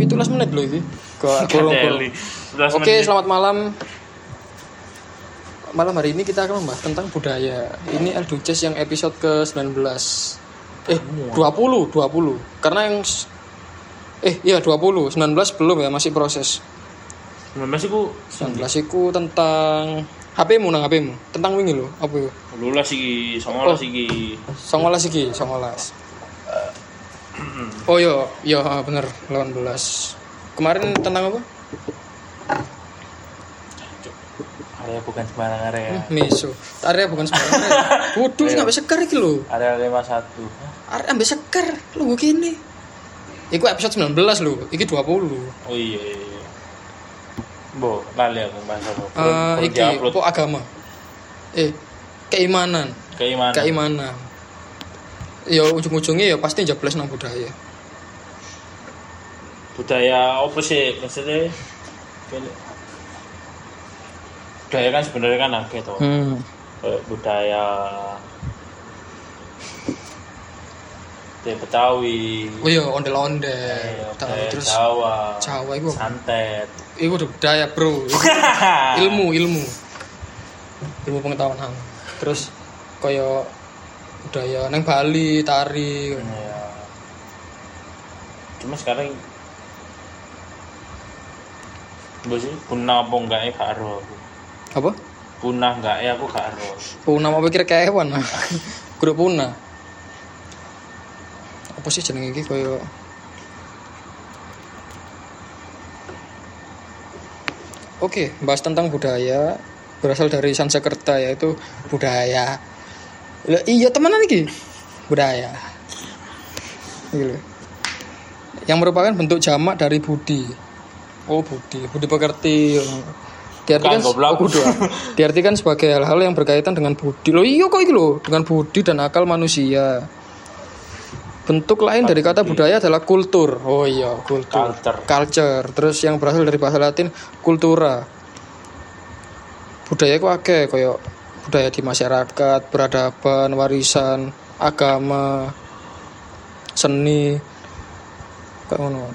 Pitulas menit loh iki. Kok Kadeli. bolong-bolong. Belas Oke, menit. selamat malam. Malam hari ini kita akan membahas tentang budaya. Ini El Duces yang episode ke-19. Eh, 20, 20. Karena yang s- Eh, iya 20, 19 belum ya, masih proses. 19 iku 19 iku tentang HP-mu nang HP-mu. Tentang wingi lho, apa iku? lulus iki, Oh. 19 iki. 19 iki, 19. Oh iya, iya ah, bener, 18. Kemarin tentang apa? Area bukan sembarang area. Meso. Area bukan sembarangan. Waduh, sampai seker iki lho. Area 51. Arek ambek seker lu kene. Iku episode 19 lho, iki 20. Oh iya. iya, iya. Bo, Lali aku bahas apa. Eh Belum- belum iki diupload. po agama. Eh keimanan, Keimanan. keimanan. Ya ujung-ujungnya ya pasti jeblas nang budaya. budaya apa sih maksudnya Kene- budaya kan sebenarnya kan akeh toh Hmm. Kayak budaya budaya Betawi Oh iya ondel-ondel. budaya Tahu, terus Jawa Jawa iku apa? santet iku udah budaya, Bro. Iku ilmu, ilmu. Ilmu pengetahuan hang. Terus kaya budaya nang Bali, tari. Ya. cuma sekarang apa sih punah apa enggak ya gak ero aku Apa? punah enggak ya aku gak ero Puna mau pikir kewan ah. Grup Puna. Apa sih jenenge iki koyo Oke, bahas tentang budaya berasal dari Sansekerta yaitu budaya. Lah, iya temenan iki. Budaya. Iki lho. Yang merupakan bentuk jamak dari budi. Oh, budi, budi pekerti. Diartikan, Bukan, goblok. Oh, kudu, ah. diartikan sebagai hal-hal yang berkaitan dengan budi. Loh, iya kok iki lho, dengan budi dan akal manusia. Bentuk lain dari kata budaya adalah kultur. Oh iya, kultur culture culture terus yang berasal dari bahasa Latin kultura budaya itu akeh koyo budaya di masyarakat peradaban warisan agama seni kayak ngono.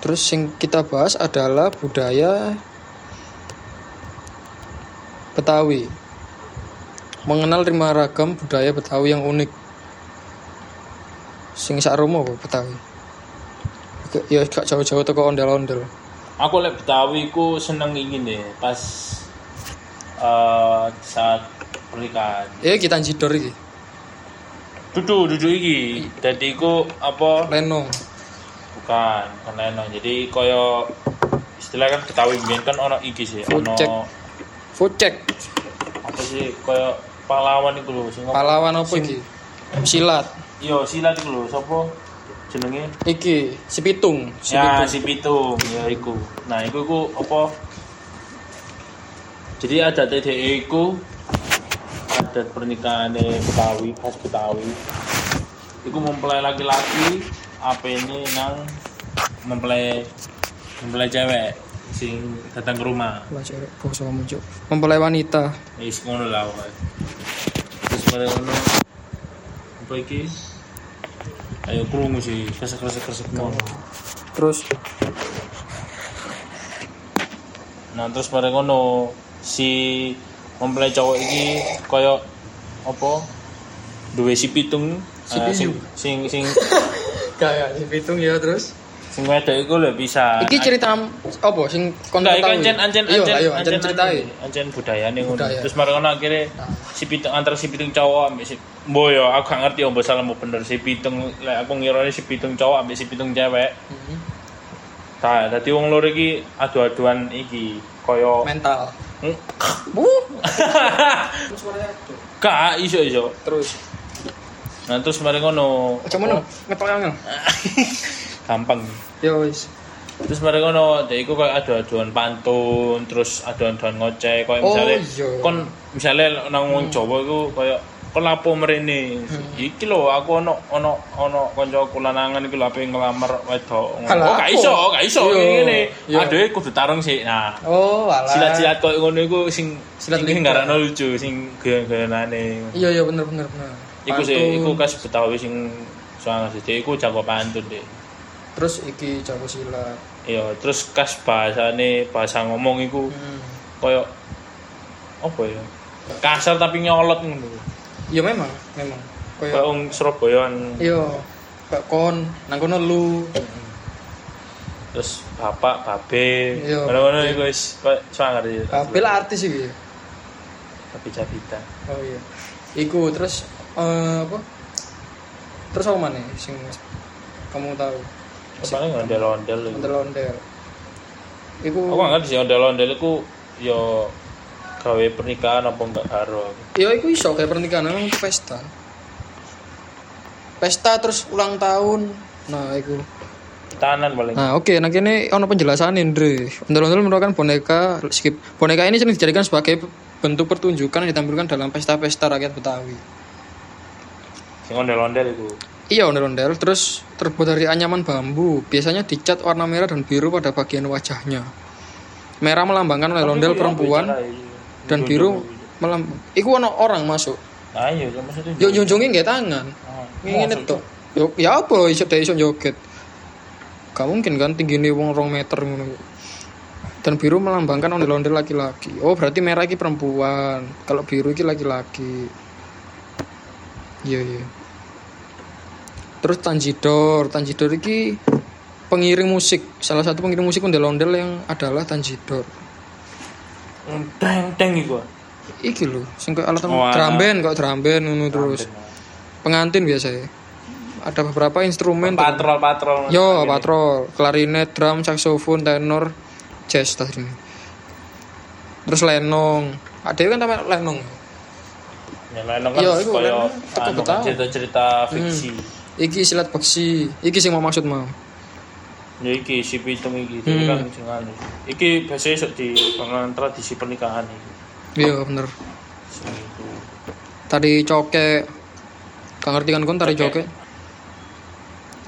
terus yang kita bahas adalah budaya Betawi mengenal lima ragam budaya Betawi yang unik sing sak romo apa Betawi Ke- ya gak jauh-jauh teko ondel-ondel aku lek Betawi ku seneng ingin deh pas eh, saat pernikahan eh kita jidor iki duduk duduk iki jadi ku apa lenong bukan bukan lain jadi koyo istilah kan Betawi biyen kan ono iki sih ono Fucek. fucek apa sih koyo pahlawan iku lho sing pahlawan apa iki silat yo silat iku lho sapa jenenge iki si pitung si ya pitung si pitung ya iku nah iku iku apa jadi ada TDE E iku adat pernikahan Betawi khas Betawi iku mempelai laki-laki apa ini nang mempelai mempelai cewek sing datang ke rumah belajar basa muncul mempelai wanita wis ngono lah wae. terus pada ngono apa iki ayo krungu sih kresek-kresek ngono terus Nah terus bareng ngono si mempelai cowok iki koyo apa? Duwe si pitung Si eh, sing piyu. sing sing kayak si pitung ya terus sing wedok iku lho bisa. iki cerita apa sing kon Enggak, iku ketahui? Ya, ancen ancen Iya, ancen ayo ancen ceritain Ancen budayane ngono. Budaya. Terus bareng ngono akhirnya si pitung antara si pitung cowok ambek si boyo aku gak ngerti ombo salah mau bener si pitung lek aku ngirone si pitung cowok ambek si pitung cewek. Hmm. Nah, dadi wong loro iki adu-aduan iki koyo mental Hmm? Wuh. Gak iso iso. terus Nah terus mari ngono cuman ngetok angel gampang. ya wis Terus mari ngono dek iku kayak adu-aduan pantun, terus adu-aduan ngoceh kayak Oh, iya. misalnya Hmm. kon misalnya nang wong Jawa iku kayak kok lapo mrene iki lho aku ono ono ono kancaku lanangan iku lho ape ngelamar wedok Alah, oh gak apa? iso gak iso Yo, ngene yo. aduh kudu tarung sih nah Oh, alah. silat-silat koyo ngono iku sing Silat silat sing lipat. ngarano lucu sing goyan-goyanane Iya, iya bener bener bener. iku sih iku Pantun, kan. kas Betawi sing soalnya sih iku jago pantun deh terus iki jago silat. iya terus kas bahasane bahasa ngomong iku Hmm. koyo apa ya kasar tapi nyolot ngono Iya memang, memang. Kayak koyo wong kan, Surabayaan iya Pak Kon, nang kono lu. terus bapak babe Iya, ngono-ngono babe. iku wis koyo sangar ya Kabel artis iki. tapi cabita Oh iya. Iku terus eh, apa? Terus apa mana sing kamu tahu? apa nih ondel-ondel iku. Ondel-ondel. Iku aku nggak sih ondel-ondel iku yo gawe pernikahan apa enggak karo Ya itu iso kayak pernikahan memang pesta. Pesta terus ulang tahun. Nah, itu. tanan paling Nah, oke, nah kene ono penjelasan Indri. Ondel-ondel merupakan boneka skip. Boneka ini sering dijadikan sebagai bentuk pertunjukan yang ditampilkan dalam pesta-pesta rakyat Betawi. sing ondel-ondel iku Iya, ondel-ondel terus terbuat dari anyaman bambu. Biasanya dicat warna merah dan biru pada bagian wajahnya. Merah melambangkan ondel-ondel perempuan iya. dan biru melambang. Iku ono orang masuk. ayo ya maksudnya Yo nyunjungi nggak tangan. Ah, Ngene to. Yo ya apa iso dhewe iso joget. Gak mungkin kan tinggine wong 2 meter ngono. Dan biru melambangkan ondel-ondel laki-laki. Oh, berarti merah iki perempuan. Kalau biru iki laki-laki. Iya, iya. Terus Tanjidor, Tanjidor iki pengiring musik. Salah satu pengiring musik ondel-ondel yang adalah Tanjidor. teng teng iku Iki lho, sing kayak alat Oh, alat. drum band, kok drum band ngono terus. pengantin biasanya ada beberapa instrumen patrol patrol ya. yo patrol klarinet drum saksofon tenor jazz tadi ini terus lenong ada kan namanya lenong ya lain Iya, kan iku, koyo lain- Hmm. aku anu tahu. cerita cerita fiksi iki silat beksi iki sing mau maksud mau ya iki si pitung iki jadi Hmm. kan sing anu iki biasanya sok di pengen tradisi pernikahan iki iya Oh. bener Sing iku. tari cokek gak ngerti kan kon tari Cokek. cokek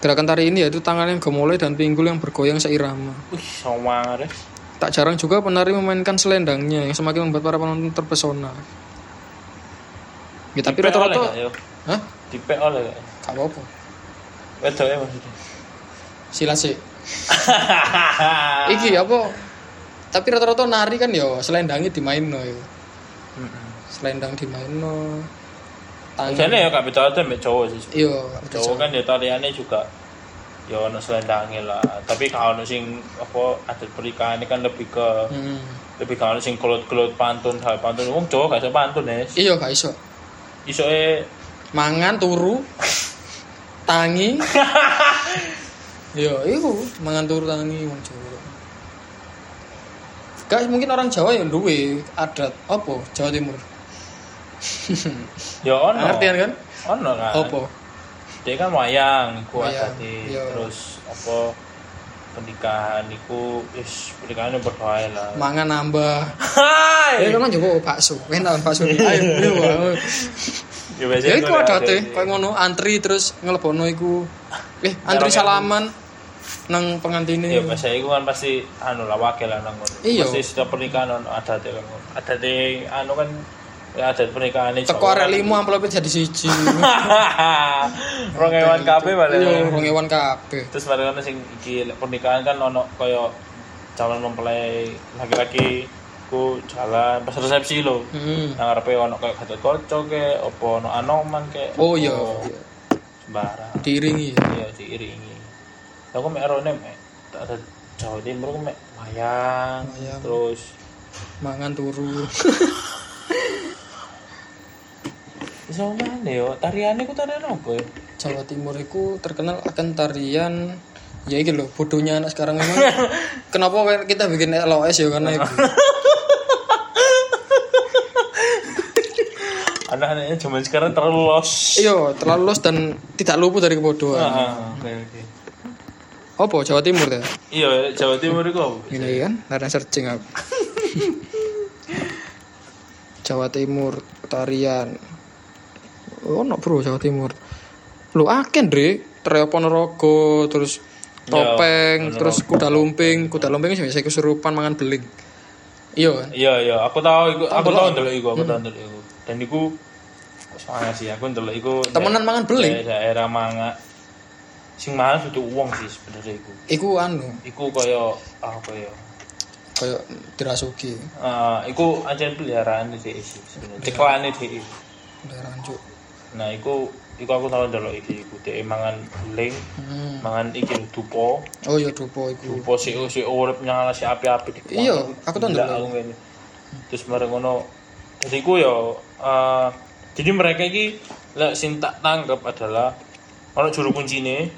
gerakan tari ini yaitu tangan yang gemulai dan pinggul yang bergoyang seirama wih sama arek tak jarang juga penari memainkan selendangnya yang semakin membuat para penonton terpesona ya, tapi Dipek oleh rata-rata nggak, yo? Hah? dipek oleh nggak? Gak apa-apa. wedoke maksudnya Silat sih. Iki ya apa? Tapi rata-rata nari kan yo selendangnya dimainno yo. Selendang dimainno. Tangan. iya. Jane ya gak beda ada mek cowok sih. Yo, Cowok kan ya tariannya juga ya ono selendangnya lah, tapi kalau ono sing apa adat pernikahan ini kan lebih ke Hmm. lebih kalau ono sing kelut-kelut pantun, hal pantun wong Jawa gak iso pantun ya. Iya gak iso. Isoke Mangan turu. tangi. yo, iku mangan turu tangi wong Jawa. Guys, mungkin orang Jawa yang duwe adat apa? Jawa Timur. ya ono. Pengertian kan? Ono kan. Apa? Dia kan wayang iku Wayang, adate iya. terus apa pernikahan iku wis pernikahan yang berdoa lah. Mangan nambah. Eh Hai. kan juga bakso, enak bakso. Ayo, iya, ayo, ayo. Ya wis. Ya iku adate, koyo ngono antri terus ngelebono iku. Eh, antri Jarang salaman nang pengantine. Ya biasa iku kan pasti anu lah wakil lah nang ngono. Iya. Pasti setiap pernikahan ono adate kan ngono. Adate anu kan ya adat pernikahan iki. Teko arek limo amplopnya jadi siji. Rong ewan kabeh balik. Iya, wong ewan kabeh. Terus bareng ono sing iki lek pernikahan kan ono koyo calon mempelai laki-laki ku jalan pas resepsi lho. Hmm. Nang ngarepe ono koyo gatot kocok ke, opo ono anoman ke. Oh iya, opo Sembarang. diiringi. Iya diiringi. Aku mek erone mek tak ada Jawa Timur aku mek wayang, Wayang. terus Mangan turu. iso mana yo tariane ku tarian apa ya? Jawa Timur iku terkenal akan tarian ya iki lho bodohnya anak sekarang ini kenapa kita bikin LOS ya karena itu Anak-anaknya zaman sekarang terlalu los. iya terlalu los dan tidak luput dari kebodohan Ah, oke oke. apa Jawa Timur ya Iya, Jawa Timur iku apa? Ini kan, karena searching aku. Jawa Timur, tarian. ono Oh, bro Jawa Timur lu akeh Dre Treo Ponorogo terus topeng terus kuda lumping kuda lumping sih biasa kesurupan mangan beling iya kan Iya iya, aku tahu iku, aku tahu ndelok Hmm. iku, aku tahu ndelok iku. Dan iku soalnya sih aku ndelok iku temenan mangan beling daerah, daerah manga. Sing mahal itu uang sih sebenarnya iku. iku anu Iku koyo apa ya? kayak dirasuki Eh, iku aja peliharaan di DI sih sebenarnya. Ceklane DI. udah rancuk Nah, iku iku aku tahu ndelok iki iku DI mangan beling, hmm. mangan iki lho, dupo. oh iya dupo iku Dupo sih si oh, urip nyala si api-api di Iya, aku tahu Gila, ndelok. aku ngene. Terus mereka ngono. Jadi ku ya eh, jadi mereka iki lek sing tak tanggap adalah ono juru kuncine.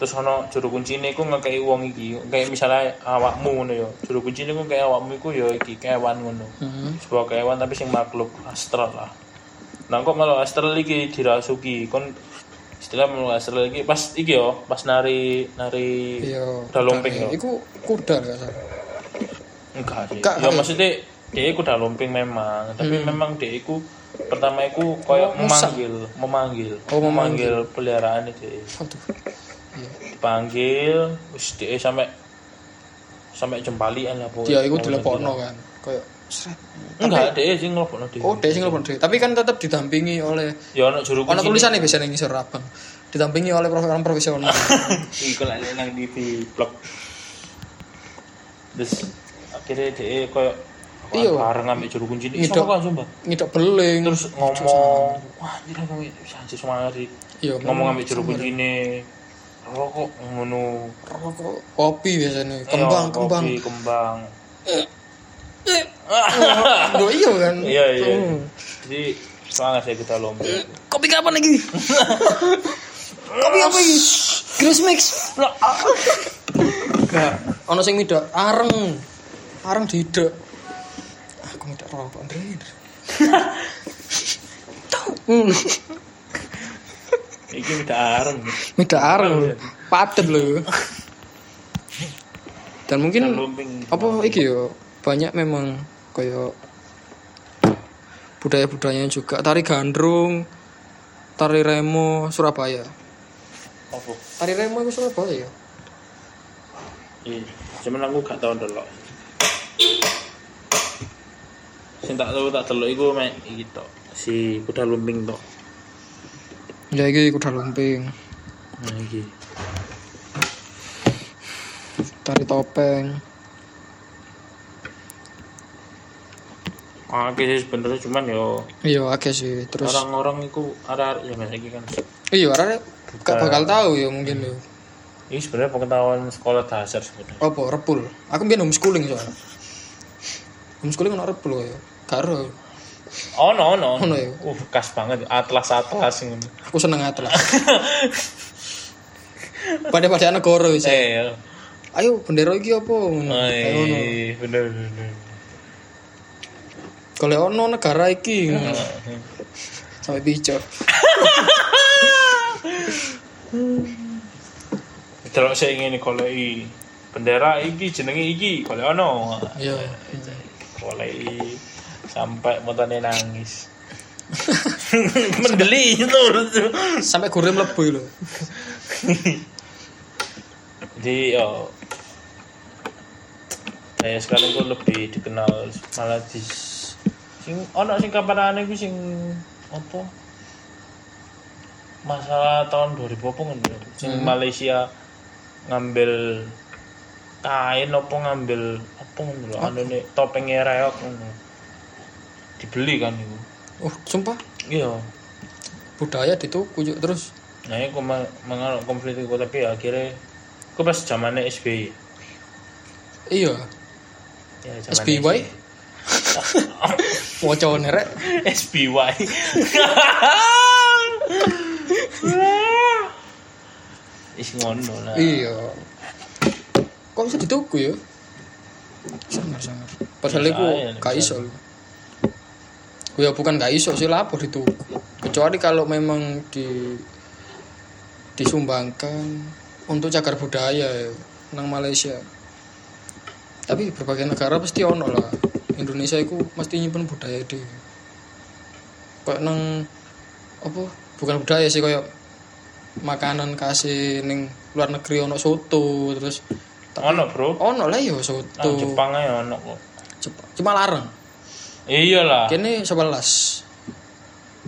Terus ono juru kuncine ku ngekei wong iki, kayak misalnya awakmu ngono ya. Juru kuncine ku kayak awakmu iku ya iki kewan ngono. hmm. Sebuah kewan tapi sing makhluk astral lah. Nah kok malah astral iki dirasuki kon istilah malah astral iki pas iki yo pas nari nari iya Kuda lumping kudanya. yo. iku kuda nggak salah Enggak Enggak, Hmm. sih. ya enggak. maksudnya dia iku udah lomping memang, tapi memang dia iku pertama iku koyo Oh, musak. memanggil, memanggil, Oh, memanggil. memanggil peliharaannya dia. aduh iya Dipanggil, wis dia sampai sampai jempalian lah pokoknya. dia iku Pokoknya dilepokno kan kayak seret dia. Enggak, dia sing ngelepokno dia. oh dia sing ngelepon dia tapi kan tetap didampingi oleh Ya ono juru ono kunci. tulisan nih biasanya ngisor abang didampingi oleh prof- orang profesional Iku lek nang TV blog. Terus akhirnya dia koyo Iya. bareng ambek juru kunci ini. Ngidok. Sumpah, sumpah. ngidok beling Terus ngomong, wah anjir aku bisa anjir semari. iya ngomong ambil jeruk kuncine rokok ngono rokok kopi biasanya kembang Iya, kembang kopi, kembang Loh, iya kan iya iya Hmm. jadi semangat saya kita lomba kopi kapan lagi kopi apa ini Gris mix Gak. ono sing midak areng areng didak aku midak rokok Andre Tau. Hmm. iki kita arem midak areng padet lho dan mungkin Hmm. lomping apa iki yo banyak memang kayak budaya-budayanya juga tari gandrung tari remo Surabaya apa tari remo itu Surabaya ya iya cuman aku gak tau delok sing tak tau tak delok iku mek iki tok si kuda lumping tok ya iki kuda lumping nah iki tari topeng Oke sih sebenernya cuman yo iya akeh sih terus orang-orang iku arah ya mas iki kan iya arane gak bakal tahu ya mungkin yo ini sebenarnya pengetahuan sekolah dasar sebenarnya apa repul aku mbiyen homeschooling soalnya homeschooling ono repul ya gak ero Oh no no. Ono ya? Uh, khas banget atlas atlas ngono. aku seneng atlas pada-pada negara wis Eh. ayo bendera iki apa ngono Ayo, ngono. Eh, bener bener. Kalau ono negara iki Nah, sampai bijak. Terus saya ingin kalau i bendera iki jenenge iki kalau ono. Iya. Kalau i sampai motone nangis. Mendeli itu. Sampai gurem mlebu lho. Jadi yo saya sekarang kok lebih dikenal malah di sing ono sing kapanane ku sing apa masalah tahun 2000 apa ngono ya, sing Malaysia ngambil kain apa ngambil apa ngono lho anune topenge reok ngono dibeli kan itu Oh, sumpah iya budaya dituku yuk terus. nah aku mengalami konflik itu tapi akhirnya aku pas zamannya SBY Iya, ya, zamannya SBY. Wocone rek. SBY. Is ngono lah. Iya. Kok bisa dituku ya? Sangar sangar. Padahal iku Iya, gak iya. iso. lho. Ya bukan gak iso sih lapor dituku. Kecuali kalau memang di disumbangkan untuk cagar budaya ya, nang Malaysia. Tapi berbagai negara pasti ono lah. Indonesia itu mesti nyimpen budaya dhewe. Kayak nang apa bukan budaya sih kayak makanan kasih ning luar negeri ono soto terus Ono, Bro. ono lah yo Nang soto Jepang ae ono kok. Jep- cuma larang Ya iyalah. kene 11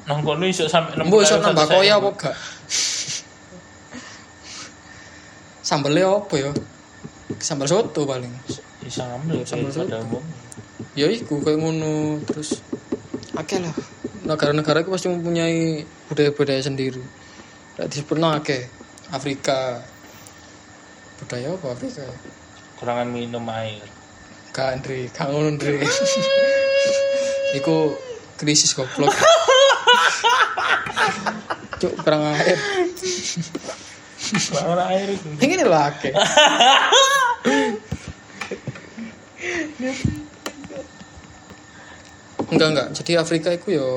Nang kono iso sampe Mbok iso 60.000 nambah koyo apa gak? Sambelnya apa ya? Sambal soto paling. Iso ngambil Sambal kayak pada soto. umum. Ya iku kayak ngono terus. Oke lah. Negara-negara itu pasti mempunyai budaya-budaya sendiri. Tidak disebutno akeh. Afrika. Budaya apa Afrika? ya? Kurangan minum air. Gak Andre, gak ngono Andre. iku krisis goblok. Cuk, kurang air. Kurangan air itu. Ini lah akeh. enggak enggak. Jadi Afrika itu yo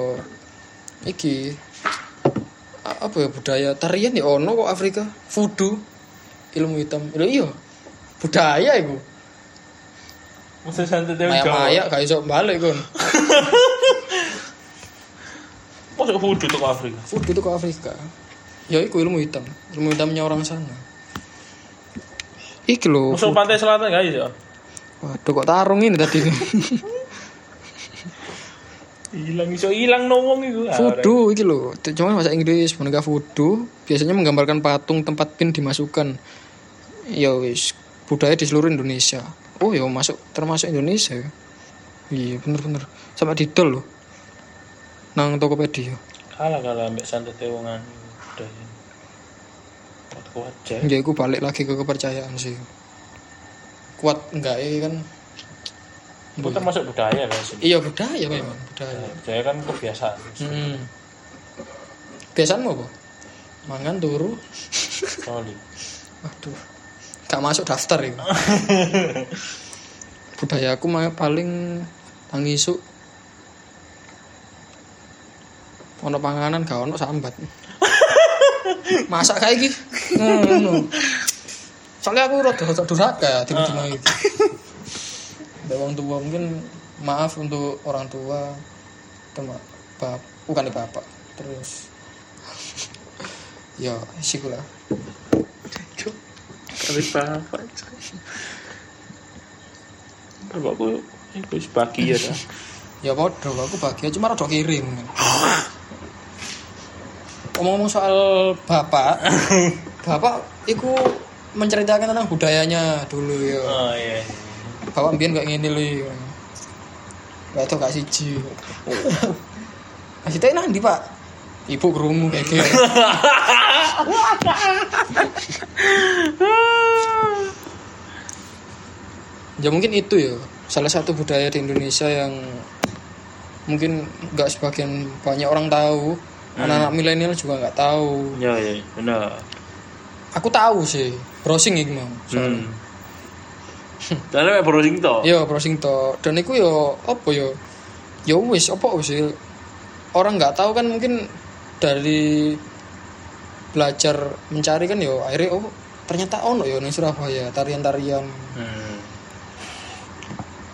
iki A- apa ya budaya tarian ya ono kok Afrika voodoo ilmu hitam Lho iya budaya iku Mesti santet dewe Jawa. maya-maya gak iso balik kon Mosok hudu teko Afrika. voodoo itu ke Afrika ya iku ilmu hitam ilmu hitamnya orang sana iki lho Mosok pantai selatan ya? gak iso. waduh kok tarung ini tadi Hilang iso hilang no wong iku. Ah, Voodoo iki lho, cuma bahasa Inggris boneka voodoo biasanya menggambarkan patung tempat pin dimasukkan. Ya wis, budaya di seluruh Indonesia. Oh ya masuk termasuk Indonesia. ya. Iya bener-bener. Sama didol lho. Nang Tokopedia. Kalah kalah ambek santet wongan. Udah. Kuat kuat aja. Ya iku balik lagi ke kepercayaan sih. Kuat enggak ya kan? Itu termasuk budaya kan sih. Iya budaya memang, budaya. Budaya kan kebiasaan. Hmm. Biasaanmu apa? Mangan turu. Sorry. Waduh, gak masuk daftar itu. Budaya aku mah paling tangisu. Ono panganan gak ono sambat. Masak kayak gini. Ngono. Soalnya aku rada rada durhaka ya, tiba-tiba iki. Ada orang tua mungkin maaf untuk orang tua tema bab bukan bapak terus ya sikulah Tapi bapak. Bapakku iku wis bahagia ta. Ya podo, aku bahagia cuma rada kirim. Ngomong-ngomong soal bapak, bapak iku menceritakan tentang budayanya dulu ya. Oh iya. Bapak mbiyen kayak ngene lho. ya. Gak tau gak siji. Nah, Kita ini nanti pak, ibu kerungu kayak gitu. ya mungkin itu ya salah satu budaya di Indonesia yang mungkin nggak sebagian banyak orang tahu anak-anak milenial juga nggak tahu Ya ya, benar. aku tahu sih browsing iki mau Hmm. Tapi mek browsing to. ya browsing to dan itu yo apa yo yo wis apa sih orang nggak tahu kan mungkin dari belajar mencari kan yo akhirnya oh ternyata ono yo ning Surabaya tarian-tarian Hmm.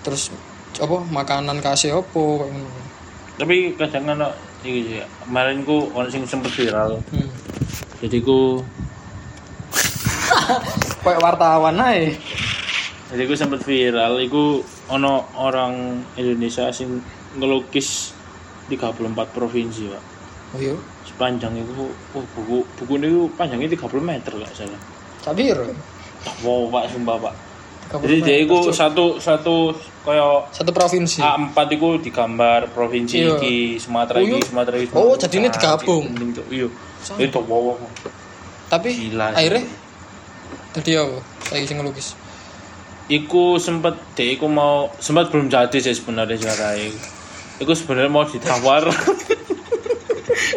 terus apa makanan kasih opo kayak ngono. Tapi kadang kan iki sih. Kemarin ku ono sing sempet viral. Hmm. Jadi ku kayak wartawan ae. jadi ku sempet viral iku ono orang Indonesia sing ngelukis 34 provinsi, Pak. Oh iya, sepanjang itu oh, buku buku ini panjangnya 30 meter gak salah cabir. wow pak sumpah pak jadi dia itu satu satu kayak satu provinsi. A4 itu digambar provinsi Iya. iki Oh, Sumatera iki iya. Sumatera iki Oh, jadi ini digabung. iya Sama. itu wow Tapi Gila sih. akhirnya tadi apa? Saya sing ngelukis. Iku sempet deh, iku mau sempet belum jadi sih sebenarnya secara iku. Iku sebenarnya mau ditawar.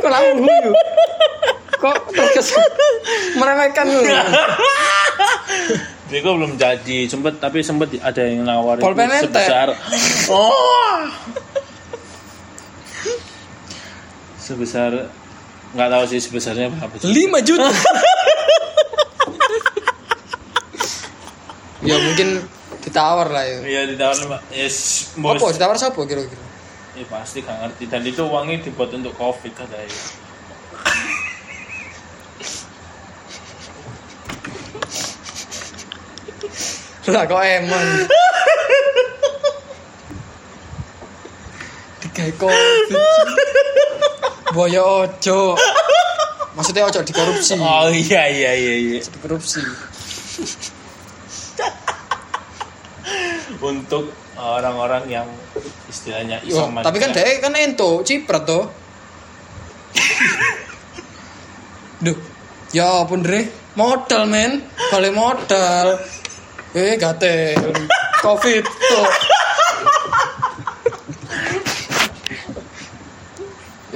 Kok lamun guyu? Kok terkesan meremehkan lu? Iku belum jadi, sempet tapi sempet ada yang nawar iku Polpen ente. sebesar Oh. sebesar nggak tahu sih sebesarnya berapa. sih. 5 juta. ya mungkin ditawar lah ya. Iya di tahun lima. Yes, Iya, bos. Apa ditawar siapa kira-kira? Ya pasti gak ngerti. Dan itu uangnya dibuat untuk covid katanya. Lah kok emang. Digawe covid. Boyo ojo. Maksudnya ojo dikorupsi. Oh iya iya iya iya. Dikorupsi. Untuk orang-orang yang istilahnya Yo, isoman. tapi kan dia kan ento, ciprat toh. Duh. Ya ampun Dre, modal men, balik modal. Eh gatel. Covid tuh.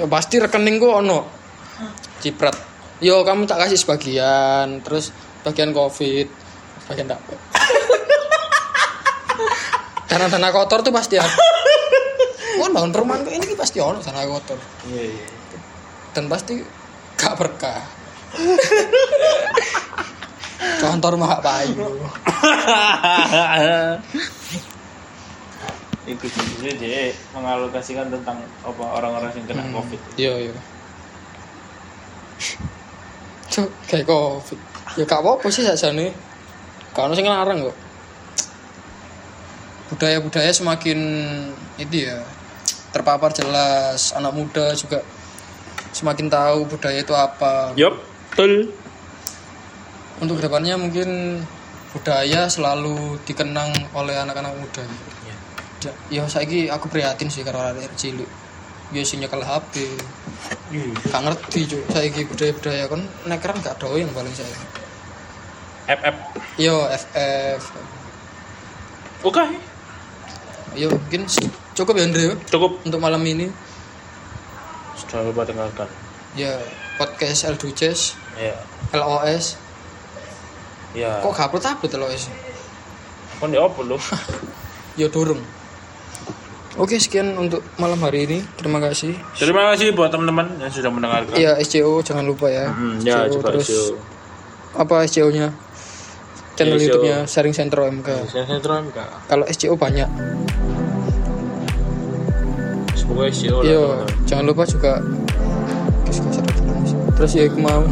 ya pasti rekeningku ono. Ciprat. Yo kamu tak kasih sebagian, terus bagian Covid, bagian tak. Tanah-tanah kotor tuh pasti ada. Kan bangun perumahan kok ini pasti ono tanah kotor Iya iya. dan pasti gak berkah kantor mahak payu Itu sebenarnya dia mengalokasikan tentang apa orang-orang yang kena covid. iya iya cuk kayak covid ya gak apa-apa sih saja nih kalau sing ngelarang kok budaya-budaya semakin itu ya terpapar jelas anak muda juga semakin tahu budaya itu apa Yup, betul. untuk kedepannya mungkin budaya selalu dikenang oleh anak-anak muda ya. ya saiki aku prihatin sih karo arek cilik ya sing nyekel HP Iya. gak ngerti cuk saiki budaya-budaya kan nek keren gak doyan paling saya Ya, FF. yo FF Oke, yo mungkin cukup ya Andre yo, cukup. untuk malam ini Sudah lupa dengarkan. ya podcast L Duces Ya, LOS ya. kok gak upload LOS Kon di opo lu? ya dorong oke sekian untuk malam hari ini terima kasih Terima kasih buat teman-teman yang sudah mendengarkan. Iya SCO jangan lupa ya. Hmm, ya, SCO, coba terus show. apa SCO-nya? Channel Ya, SCO. YouTube-nya Sharing Center OMK. Saya sentrum kak. Kalau SCO banyak. Semoga SEO lah. Iya, teman-teman. jangan lupa juga Guys, gak usah terus. Terus ya aku mau.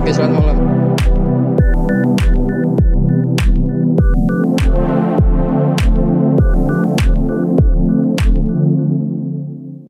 Oke, selamat malam.